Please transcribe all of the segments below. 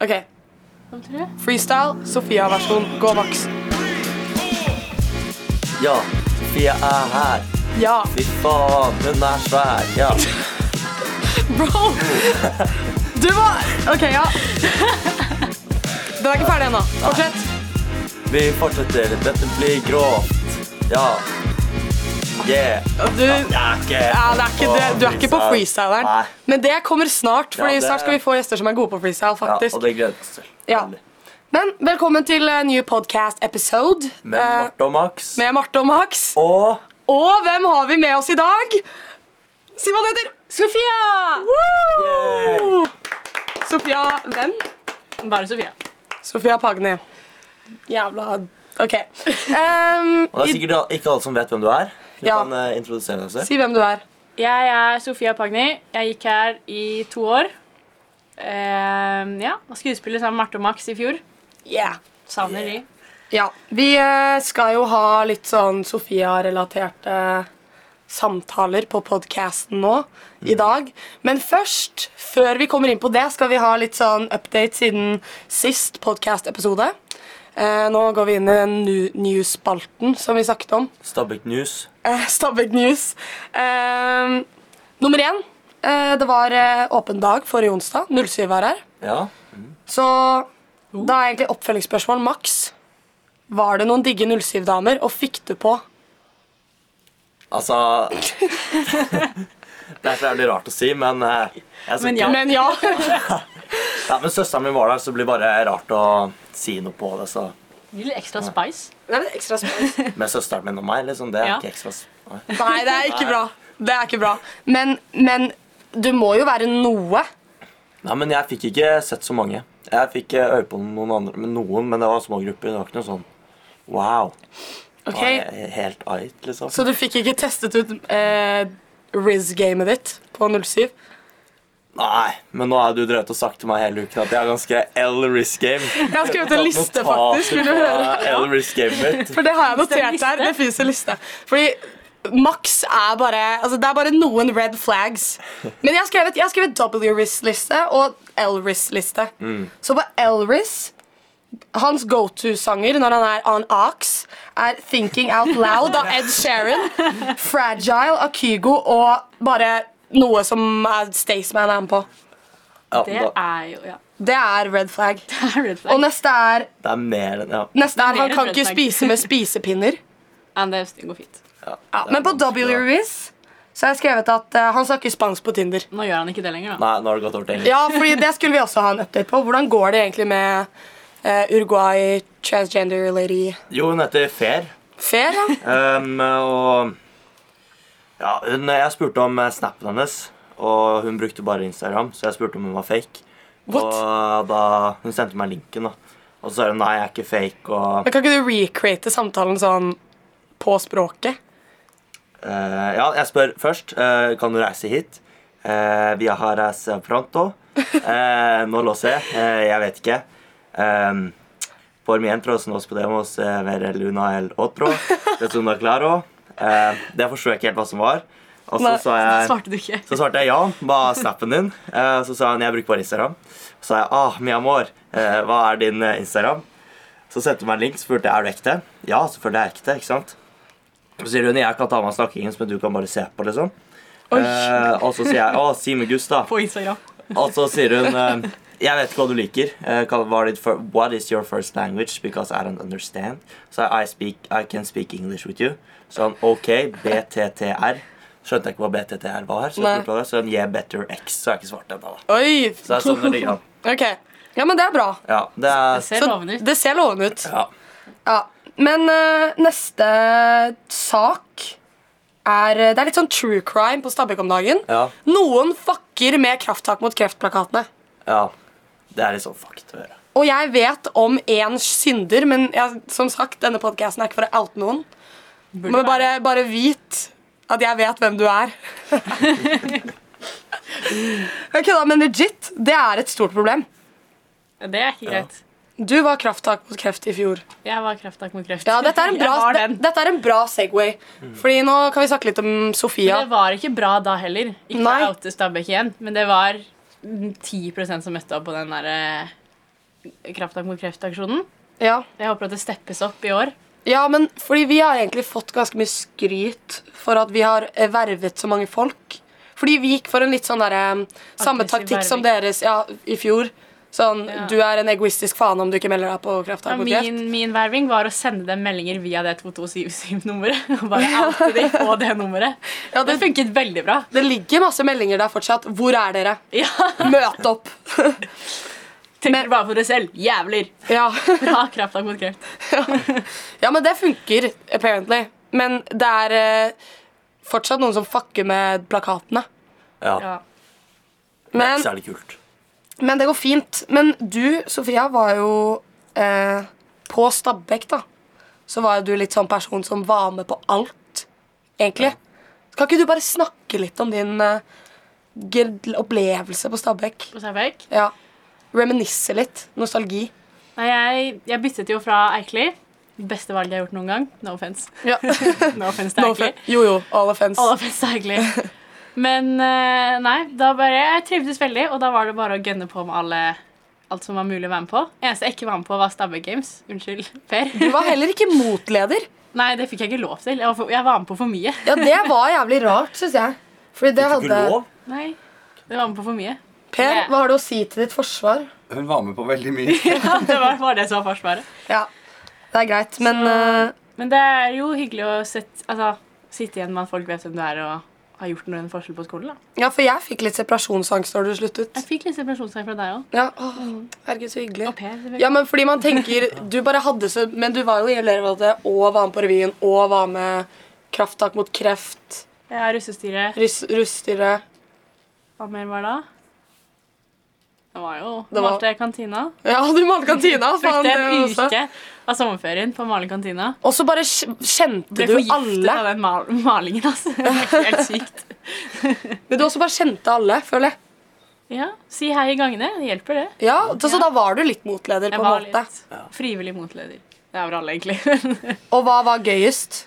OK. Freestyle, Sofia-versjon, gå maks. Ja, Sofie er her. Ja, Fy faen, hun er svær. Ja. bro! Du må OK, ja. Den er ikke ferdig ennå. Fortsett. Vi fortsetter. Dette blir grovt. Ja. Yeah. Du, ja, Jeg er ikke det er ikke, det, du er ikke på Nei. freestyleren. Men det kommer snart, for Ja, det- snart skal vi få gjester som er gode på freestyle. Ja, og faktisk. det gleder vi oss til. Ja. Men velkommen til eh, ny podcast episode Med Marte og Max. Eh, med Marte og Max. Og Og hvem har vi med oss i dag? Si hva hun heter! Sofia! Yay! Sofia hvem? Bare Sofia. Sofia Pagni. Jævla OK. Ehm, Og det er i, sikkert ikke alle som vet hvem du er. Du Ja. kan eh, introdusere deg selv. si hvem du er. Jeg er Sofia Pagni. Jeg gikk her i to år. Eh, ja, og skuespiller sammen med Marte og Max i fjor. Yeah. Savner de. Ja. Vi eh, skal jo ha litt sånn Sofia-relaterte samtaler på podkasten nå i dag. Men først, før vi kommer inn på det, skal vi ha litt sånn update siden sist podkast-episode. Eh, nå går vi inn i den nu- news-spalten som vi snakket om. Stabæk News. Eh, Stabæk News. Eh, nummer én. Eh, det var eh, åpen dag forrige onsdag. 07 var her. Ja. Så da er egentlig oppfølgingsspørsmål maks. Var det noen digge 07-damer, og fikk du på? Altså Derfor er det rart å si, men eh, jeg skal Men ikke- ja. Men ja. Nei, men søsteren min var der, så det blir bare rart å si noe på det. Så. Litt ekstra spice. Det er litt ekstra spørsmål. Med søsteren min og meg, liksom. Det er Ja. ikke ekstra s- Nei. Nei, det er ikke bra. Det er ikke bra. Men, men du må jo være noe. Nei, men jeg fikk ikke sett så mange. Jeg fikk eh, øye på noen andre, men noen, men det var små grupper. Det var ikke noe sånn wow. Ok? Det var he- Helt ait, liksom. Så du fikk ikke testet ut eh, Riz-gamet ditt på 07? Nei, men nå har du drevet og sagt til meg hele uken at jeg har ganske L risk game. Jeg har skrevet en liste, faktisk, vil du høre? L risk game mitt. For det har jeg notert der. Det finnes en liste. Fordi Max er bare altså Det er bare noen red flags. Men jeg har skrevet, jeg har skrevet W-RIS-liste og L-RIS-liste. Så på L-RIS Hans go to-sanger når han er on ox, er 'Thinking Out Loud' av Ed Sheeran, 'Fragile' av Kygo og bare noe som er Staysman er med på. Ja, Det da, er jo ja. Det er red flag. Det er red Og flag. neste er, det er mer enn ja. neste er mer 'Han enn kan red ikke flag. spise med spisepinner'. Ja, det går fint. Ja, ja, det er men på vanskelig, da. WRIS så har jeg skrevet at eh, han snakker spansk på Tinder. Nå gjør han ikke det lenger, da. Nei, nå har det gått over til engelsk. Ja, fordi det skulle vi også ha en update på. Hvordan går det egentlig med eh, Uruguay transgender lady Jo, hun heter Fair. Fair? Ja? Um, og ja, hun, jeg spurte om eh, snappen hennes, og hun brukte bare Instagram, så jeg spurte om hun var fake. What? Og da, hun sendte meg linken, da. Og så er hun nei, jeg er ikke fake, og Men kan ikke du recreate samtalen sånn på språket? eh, Ja, jeg spør først. eh, kan du reise hit? Uh, vi har reist pronto. Uh, nå låser jeg. Eh, jeg vet ikke. Um, por mientras nos podemos eh, ver luna el otro. Desunda claro. Eh, det forsto jeg ikke helt hva som var. Og så Nei, sa jeg Svarte du ikke? Så svarte jeg ja, hva er snappen din? Eh, så sa han jeg bruker bare Instagram. Så sa jeg ah, mi amor, eh, hva er din eh, Instagram? Så sendte hun meg en link, spurte jeg er du ekte. Ja, selvfølgelig er jeg ekte. ikke sant? Så sier hun jeg kan ta meg av snakkingen, men du kan bare se på, liksom. Oi. Eh, og så sier jeg å, si med Gus, da. På Instagram. Og så sier hun eh, jeg vet ikke hva du liker. Eh, hva- hva er ditt fir- What is your first language? Because I don't understand. Så jeg, I, speak, I can speak English with you. Så han OK, BTTR. Skjønte jeg ikke hva BTTR var. Så Nei. jeg spurte hva det var. Så han yeah, better X. Så jeg har ikke svart ennå. da. Oi! Så det er sånn det ligger an. Ok. Ja, men det er bra. Ja, det Det er ser Så lovende ut. det ser lovende ut. ja. Ja. Men eh, neste sak er eh, Det er litt sånn true crime på Stabekk om dagen. Ja. Noen fucker med Krafttak mot kreft-plakatene. ja. Det er litt sånn fucked å gjøre. Og jeg vet om én synder, men jeg, som sagt, denne podcasten er ikke for å oute noen. Men bare, bare vit at jeg vet hvem du er. Jeg kødda, men legit, det er et stort problem. Det er ikke greit. Du var krafttak mot kreft i fjor. Jeg var krafttak mot kreft. Ja, dette er en Jeg bra, var det, den. Mm. dette er en bra Segway. Fordi nå kan vi snakke litt om Sofia. Det var ikke bra da heller. Ikke Nei. oute Stabæk igjen, men det var 10 som møtte opp på den der eh, Krafttak mot kreft-aksjonen. Ja. Jeg håper at det steppes opp i år. ja, men fordi vi har egentlig fått ganske mye skryt for at vi har eh, vervet så mange folk. Fordi vi gikk for en litt sånn derre eh, Samme Aggressiv taktikk som verving. deres ja, i fjor. Sånn Ja. du er en egoistisk faen om du ikke melder deg på Krafttak mot kreft. Min, min verving var å sende dem meldinger via det 2277-nummeret. Og bare oute de på det nummeret. Ja, Det det, funket veldig bra. det ligger masse meldinger der fortsatt. Hvor er dere? Ja, Møt opp! Tenker bare på dere selv. Jævler! Ja. Bra krafttak mot kreft. ja, men det funker, apparently. Men det er eh, fortsatt noen som fucker med plakatene. Ja, Ja. det er Men, ikke særlig kult. men det går fint. Men du, Sofia, var jo eh, På Stabekk, da, så var jo du litt sånn person som var med på alt, egentlig. Kan ikke du bare snakke litt om din eh, ged- opplevelse på Stabekk? På Sæbekk. Ja. Reminisse litt. Nostalgi. Nei, jeg, jeg byttet jo fra Eikli. Beste valget jeg har gjort noen gang. No offense. Ja. No offense til Eikli. Jo, jo. All offense. All offense til Eikli. Men eh, nei, da bare Jeg trivdes veldig, og da var det bare å gønne på med alle, alt som var mulig å være med på. Eneste jeg ikke var med på, var Stabbe Games. Unnskyld, Per. Du var heller ikke motleder. Nei, det fikk jeg ikke lov til. Jeg var, for, jeg var med på for mye. Ja, det var jævlig rart, syns jeg. Fordi det Fikk hadde ikke lov. Nei, det var med på for mye. Per, hva har du å si til ditt forsvar? Hun var med på veldig mye. Ja, det var bare det som var forsvaret. Ja, det er greit, men Så- eh, Men det er jo hyggelig å sett- altså, sitte igjen med at folk vet hvem du er, og har gjort noen forskjell på skolen. da. Ja, for jeg fikk litt separasjonsangst da du sluttet. Jeg fikk litt separasjonstegn fra deg òg. Ja, åh, herregud, så hyggelig. Og Per. selvfølgelig. Ja, men fordi man tenker Du bare hadde så Men du var jo i elevrådet og var med på revyen og var med Krafttak mot kreft, Jeg har russestyret. russ, russtyre Hva mer var det da? Det var jo Det var- Malte kantina. Ja, du malte kantina! Faen, Brukte en det altså. også. uke av sommerferien på å male kantina. Og så bare kj- kjente Ble du forgiftet alle. av den mal malingen, altså. Det var helt sykt. Men du også bare kjente alle, føler jeg. Ja, Si hei i gangene. Det hjelper, det. Ja, Så så da var du litt motleder, Jeg på en var måte. litt frivillig motleder. Det er vel alle, egentlig. Og hva var gøyest?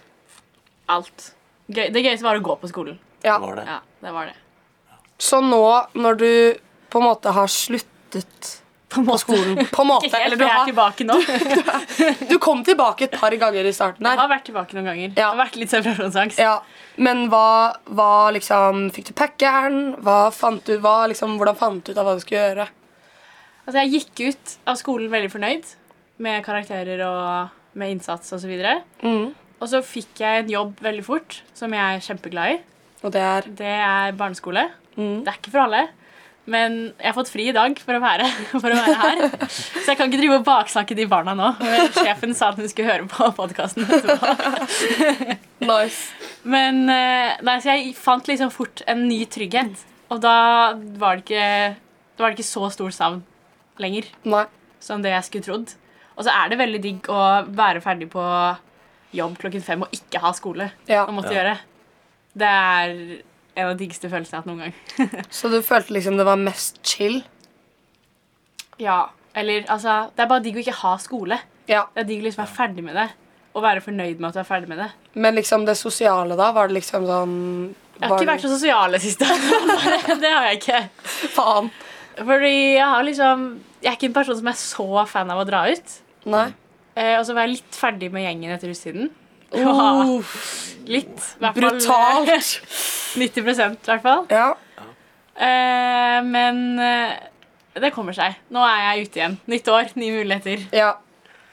Alt. Gøy. Det gøyeste var å gå på skolen. Ja. Var det. Ja, det var det. Så nå, når du på en måte har sluttet På, på skolen På en måte. Ikke helt, Eller for du, jeg er har, tilbake nå. Jeg du kom tilbake et par ganger i starten der. har vært tilbake noen ganger. Det Ja. har vært litt separasjonsangst. Ja. Men hva, hva liksom Fikk du packeren? Hva fant du, hva, liksom, hvordan fant du ut av hva du skulle gjøre? Altså, jeg gikk ut av skolen veldig fornøyd med karakterer og med innsats osv. Og, Mm. og så fikk jeg en jobb veldig fort som jeg er kjempeglad i. Og det er Det er barneskole. Det er ikke for alle. Men jeg har fått fri i dag for å være, for å være her. Så jeg kan ikke drive og baksnakke de barna nå. Sjefen sa at hun skulle høre på podkasten. nice. Men eh, nei, så jeg fant liksom fort en ny trygghet. Og da var det ikke, da var det ikke så stor savn lenger Nei. som det jeg skulle trodd. Og så er det veldig digg å være ferdig på jobb klokken fem og ikke ha skole. Ja. Og måtte gjøre. Det er en av de diggeste følelsene jeg har hatt noen gang. Så du følte liksom det var mest chill? Ja, eller altså, Det er bare digg å ikke ha skole. Ja. Det er digg å liksom være ferdig med det. Og være fornøyd med at du er ferdig med det. Men liksom det sosiale, da? Var det liksom sånn Jeg har var ikke vært så sosial i det siste. det har jeg ikke. Faen. Fordi jeg har liksom Jeg er ikke en person som er så fan av å dra ut. Nei. Eh, og så var jeg litt ferdig med gjengen etter russetiden. Uff, Litt. i hvert fall, eh, brutalt. 90 i hvert fall. Ja. Eh, men eh, det kommer seg. Nå er jeg ute igjen. Nytt år, nye muligheter. ja.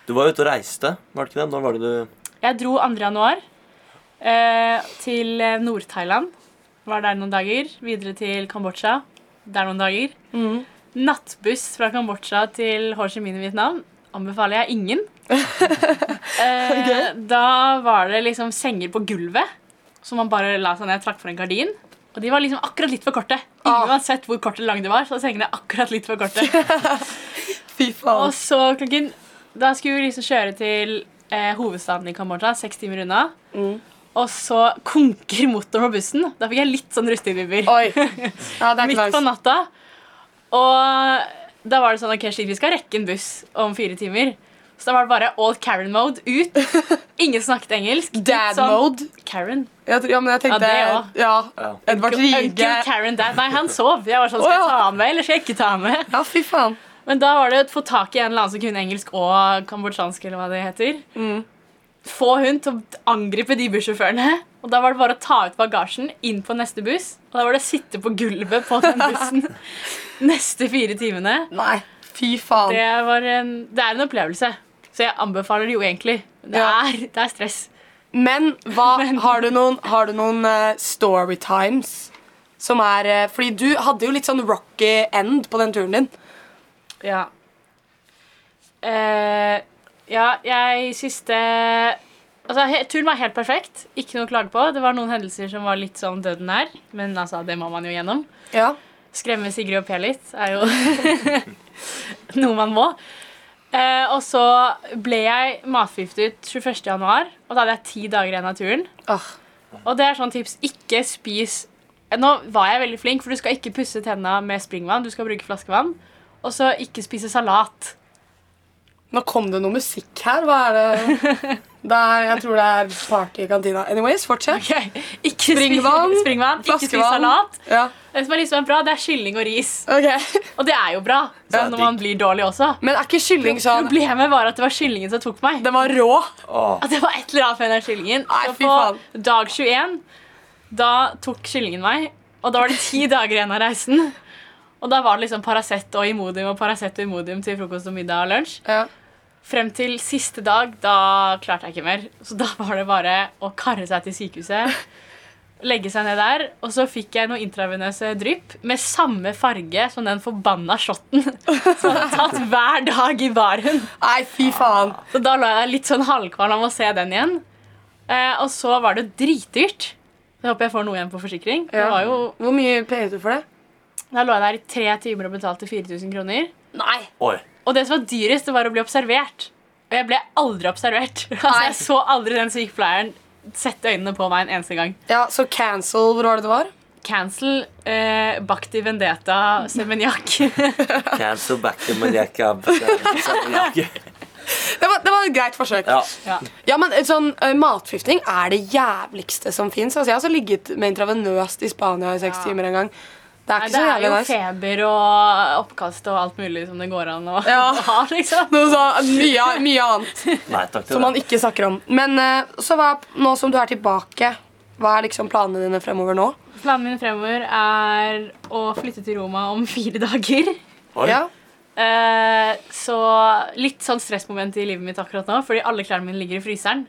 Du var ute og reiste, var det ikke det? Når var det du Jeg dro 2. januar eh, til eh, Nord-Thailand. Var der noen dager. Videre til Kambodsja. Der noen dager. Mm. Nattbuss fra Kambodsja til Ho Chi Minh i Vietnam anbefaler jeg ingen. eh, Da var det liksom senger på gulvet, som man bare la seg ned, trakk for en gardin. Og de var liksom akkurat litt for korte. Ah. Uansett hvor kort eller lang de var, så var sengene akkurat litt for korte. Fy faen. Og så klokken Da skulle vi liksom kjøre til eh, hovedstaden i Kambodsja, seks timer unna. Mm. Og så konker motoren på bussen. Da fikk jeg litt sånn rustivibber. Oi. Ja, det er Midt ikke på nice. natta. Og da var det sånn Ok, shit, vi skal rekke en buss om fire timer. Så da var det bare all Karen-mode ut. Ingen snakket engelsk. Litt Dad sånn- mode. Karen. Jeg, tr- ja, men jeg Ja, tenkte Ja, det Ja. Edvard Uncle Rige. Karen Dad. Nei, han sov. Jeg var sånn Skal jeg Å, ja. ta han med, eller skal jeg ikke ta han med? Ja, fy faen. Men da var det å få tak i en eller annen som kunne engelsk og kambodsjansk, eller hva det heter. Få hun til å angripe de bussjåførene. Og da var det bare å ta ut bagasjen, inn på neste buss. Og da var det å sitte på gulvet på den bussen neste fire timene. Nei, fy faen. Det, var en, det er en opplevelse. Så jeg anbefaler det jo egentlig. Det Ja. er, det er stress. Men, hva, har du noen, har du noen eh, story times som er eh, Fordi du hadde jo litt sånn rocky end på den turen din. Ja. Eh, ja, jeg siste Altså, he, turen var helt perfekt. Ikke noe å klage på. Det var noen hendelser som var litt sånn døden nær, men altså, det må man jo gjennom. Ja. Skremme Sigrid og Per litt er jo noe man må. Eh, og så ble jeg matforgiftet 21. januar, og da hadde jeg ti dager igjen av turen. Åh. Og det er sånn tips. Ikke spis Nå var jeg veldig flink, for du skal ikke pusse tenna med springvann. Du skal bruke flaskevann. Og så ikke spise salat. Nå kom det noe musikk her. Hva er det? det er, jeg tror det er party i kantina. Anyways, fortsett. Ok, Ikke Springvann, spis, springvann ikke spis flaskevann. salat. Ja. Det som er liksom bra, det er kylling og ris. Ok. Og det er jo bra Det er sånn når man blir dårlig også. Men er ikke kylling sånn Problemet var at det var kyllingen som tok meg. Den var rå. Åh, At det var et eller annet med den kyllingen. Nei, Så fy på dag 21 da tok kyllingen meg, og da var det ti dager igjen av reisen. Og da var det liksom Paracet og Imodium og Paracet og Imodium til frokost og middag og lunsj. Ja. Frem til siste dag, da klarte jeg ikke mer. Så da var det bare å karre seg til sykehuset, legge seg ned der, og så fikk jeg noen intravenøse drypp med samme farge som den forbanna shotten som jeg hadde tatt hver dag i baren. Nei, fy faen. Så da lå jeg litt sånn halvkvalm av å se den igjen. Eh, og så var det dritdyrt. Jeg håper jeg får noe igjen på forsikring. Det Ja. var jo, Hvor mye payer du for det? da lå jeg der i tre timer og betalte 4000 kroner. Nei. oi. Og det som var dyrest, det var å bli observert. Og jeg ble aldri observert. Altså, jeg så aldri den sykepleieren sette øynene på meg en eneste gang. Ja, Så cancel, hvor var det det var? Cancel eh, Bakti Vendetta Semenjak. Cancel back to Mallorca. Det var, det var et greit forsøk. Ja. ja. Ja, men eh, sånn eh, Matforgiftning er det jævligste som fins. Altså, jeg har også ligget med intravenøst i Spania i seks Ja. timer en gang. Det er Nei, ikke Det så er jævlig jo nice. feber og oppkast og alt mulig som det går an å Ja. å ha, liksom. Noe så, mye, mye annet Nei takk til som man det. ikke snakker om. Men eh, så hva, nå som du er tilbake, hva er liksom planene dine fremover nå? Planen min fremover er å flytte til Roma om fire dager. Oi. Ja, Eh, så litt sånn stressmoment i livet mitt akkurat nå, fordi alle klærne mine ligger i fryseren.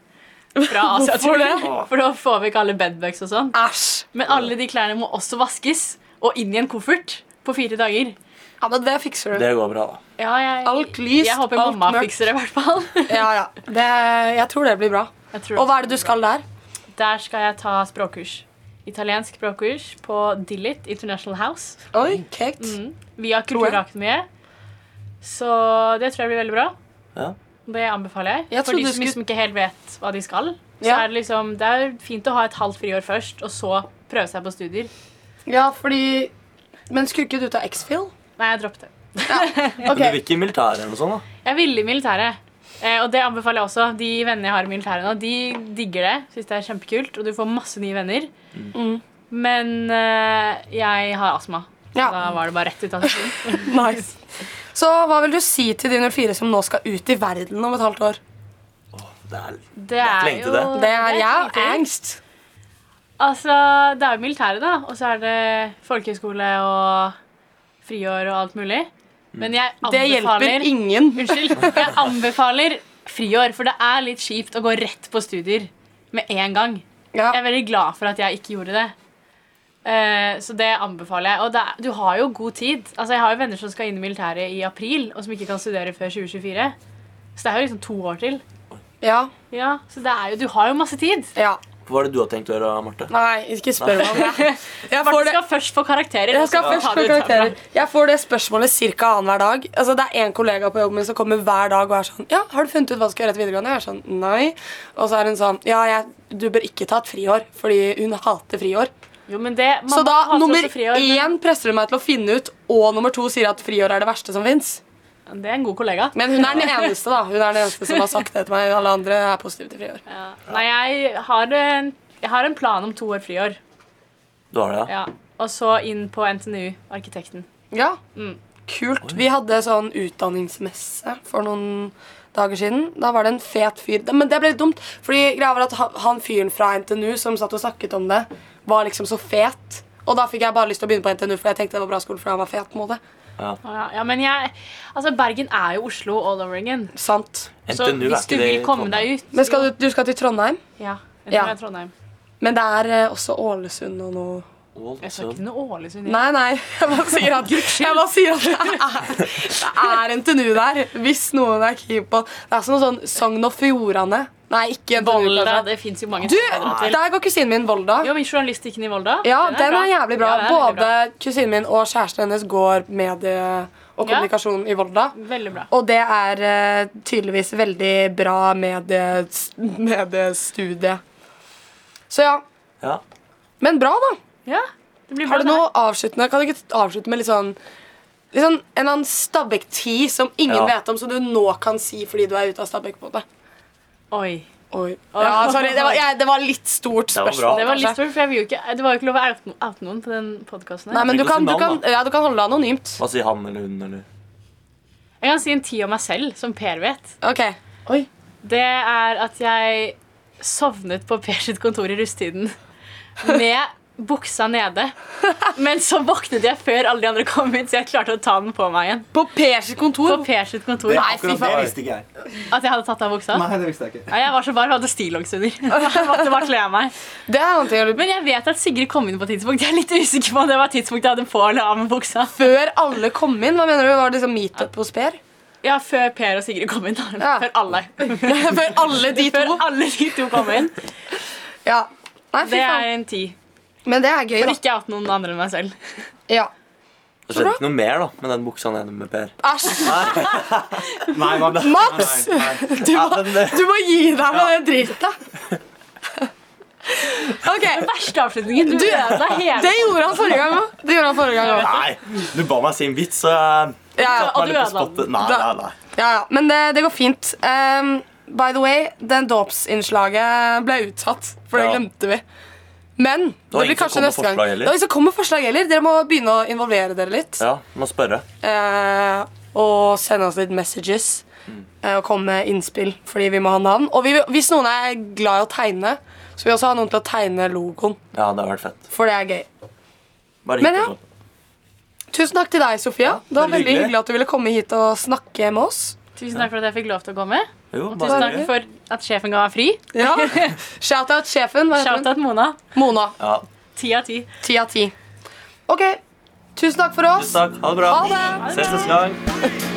Fra Asia-turen. det? For da får vi ikke alle bedbugs og sånn. Æsj! Men alle de klærne må også vaskes og inn i en koffert på fire dager. Ja, men det fikser du. Det går bra, da. Ja, jeg, Alt lyst, jeg håper alt mamma mørkt. fikser det, i hvert fall. Ja, ja. Det, jeg tror det blir bra. Jeg tror Og hva er det du skal der? Der skal jeg ta språkkurs. Italiensk språkkurs på Dillit International House. Oi, kekt. Via jeg. Kulturakademiet. Så det tror jeg blir veldig bra. Ja. Det anbefaler jeg. Jeg For de trodde som du skulle- liksom ikke helt vet hva de skal. Så Ja. er det liksom, det er fint å ha et halvt friår først, og så prøve seg på studier. Ja, fordi Men skulle ikke du ta X-Fill? Nei, jeg droppet det. Men du Ok. vil ikke i militæret eller noe sånt? da? Jeg ville i militæret. Eh, og det anbefaler jeg også. De vennene jeg har i militæret nå, de digger det. Synes det er kjempekult, Og du får masse nye venner. Mm. Men eh, jeg har astma. Så Ja. Da var det bare rett ut av skolen. Nice. Så hva vil du si til de 04 som nå skal ut i verden om et halvt år? Det er Det er Lengte jo det. Det er jeg er har kjempefint. angst. Altså, det er jo militæret, da. Og så er det folkehøyskole og friår og alt mulig. Men jeg Det hjelper anbefaler ingen. Unnskyld. Jeg anbefaler friår, for det er litt kjipt å gå rett på studier med en gang. Ja. Jeg er veldig glad for at jeg ikke gjorde det. Eh, så det anbefaler jeg. Og det er, du har jo god tid. Altså, jeg har jo venner som skal inn i militæret i april, og som ikke kan studere før 2024. Så det er jo liksom to år til. ja. Ja, Så det er jo, du har jo masse tid. ja. Hva var det du hadde tenkt å gjøre, Marte? Nei, ikke spør meg om det. Jeg får Martin det, skal først få karakterer. jeg og så skal først ta få det ut herfra. karakterer. Jeg får det spørsmålet ca. annenhver dag. Altså, det er en kollega på jobben min som kommer hver dag og er sånn Ja, har du funnet ut hva du skal gjøre etter videregående? Jeg er sånn Nei. Og så er hun sånn Ja, jeg, du bør ikke ta et friår, fordi hun hater friår. Jo, men det, mamma Så da, hater nummer også sånn friår, men én presser hun meg til å finne ut, og nummer to sier at friår er det verste som fins. Det er en god kollega. Men hun er den eneste da Hun er den eneste som har sagt det til meg. Alle andre er positive til friår. Ja. Nei, jeg har, en, jeg har en plan om to år friår. Du har det, ja? Ja. Og så inn på NTNU, arkitekten. Ja, kult. Vi hadde sånn utdanningsmesse for noen dager siden. Da var det en fet fyr. Da- Men det ble litt dumt, fordi greia var at han- han fyren fra NTNU som satt og snakket om det, var liksom så fet. Og da fikk jeg bare lyst til å begynne på NTNU, for jeg tenkte det var bra skole fordi han var fet. på en måte. Å Ja, ja, men jeg, altså Bergen er jo Oslo all over again. Sant. Så NTNU er hvis du ikke det vil komme Trondheim. deg ut Men skal du, du skal til Trondheim? Ja. Jeg tror Ja. det er Trondheim. Men det er eh, også Ålesund og noe Jeg sa ikke noe Ålesund. jeg. Nei, nei. Jeg bare sier at, jeg bare sier at det, er, det er NTNU der. Hvis noen er keen på Det er som noe sånn Sogn og Fjordane. Nei, ikke NTNU. Volda. kanskje. Det fins jo mange Du, steder til. der går kusinen min, Volda. Jo, men Journalistikken i Volda. Ja, den er jævlig bra. Ja, den er veldig Både kusinen min og kjæresten hennes går medie og Ja. kommunikasjon i Volda. Veldig bra. Og det er eh, tydeligvis veldig bra eh, medie, mediestudie. eh, Så ja. Ja. Men bra, da. Ja, det blir bra. Har du det her. noe avsluttende? Kan du ikke avslutte med litt sånn, litt sånn en eller annen Stabæk-ti som ingen Ja. vet om, som du nå kan si fordi du er ute av Stabæk? på det? Oi. Oi. Ja, sorry, det var, jeg, det var litt stort var bra. spørsmål. Det var litt kanskje. stort, for jeg vil jo ikke, det var jo ikke lov å oute no- oute noen på den podkasten. Nei, men du Ikke kan, du, navn, kan, da. ja, du kan holde det anonymt. Hva sier han eller hun eller Jeg kan si en ti om meg selv, som Per vet. Ok. Oi. Det er at jeg sovnet på Per sitt kontor i rusttiden med buksa nede. Men så våknet jeg før alle de andre kom hit, så jeg klarte å ta den på meg igjen. På Pers kontor? På Per sitt kontor. Nei, fy Akkurat det faen. visste ikke jeg. At jeg hadde tatt av buksa. Nei, det visste jeg ikke. Nei, jeg var så varm, jeg hadde stillongs under. Jeg måtte bare kle av meg. Det er noe å gjøre. Men jeg vet at Sigrid kom inn på et tidspunkt. Jeg er litt usikker på om det var tidspunktet jeg hadde på eller av med buksa. Før alle kom inn? Hva mener du? Var det liksom meetup hos Per? Ja, før Per og Sigrid kom inn. da. Ja. Før alle. Før alle de Før to? alle de to kom inn. Ja. Nei, fy Det er faen. en ti. Men det er gøy, For da. ikke out noen andre enn meg selv. Ja. Det skjedde ikke noe mer da med den buksa nede med Per. Æsj. Nei, man ble... Max! Nei, nei. Du Ja, må, men det- du må gi deg med den driten. OK. Verste avslutningen. Du Du- ødela hele Det gjorde han forrige gang òg. Det gjorde han forrige gang også. Nei, du ba meg si en vits, så jeg Ja, ja. Og var du litt på ødela spottet. Nei, nei, Da- nei. ja, ja. Men det, det går fint. Ehm, by the way, den dåpsinnslaget ble utsatt, for det Ja. glemte vi. Men det, var blir ingen som kanskje kom med neste gang. forslag Det heller. var ingen som kom med forslag heller. Dere må begynne å involvere dere litt. Ja, må spørre. Eh, og sende oss litt messages. Mm. eh, og komme med innspill, fordi vi må ha navn. Og vi, hvis noen er glad i å tegne, så vil vi også ha noen til å tegne logoen. Ja, det har vært fett. For det er gøy. Bare Men hitt ja. på sånn. Tusen takk til deg, Sofia. det var veldig veldig hyggelig. hyggelig at du ville komme hit og snakke med oss. Tusen takk for at jeg fikk lov til å komme. Jo, Og bare tusen takk hyggelig. for at sjefen ga meg fri. Ja. Shout-out sjefen. Hva heter hun? Shout-out Mona. Mona. Ja, Ti av ti. Ti av ti. OK. Tusen takk for oss. tusen takk. Ha det bra. Ha det. Ses neste gang.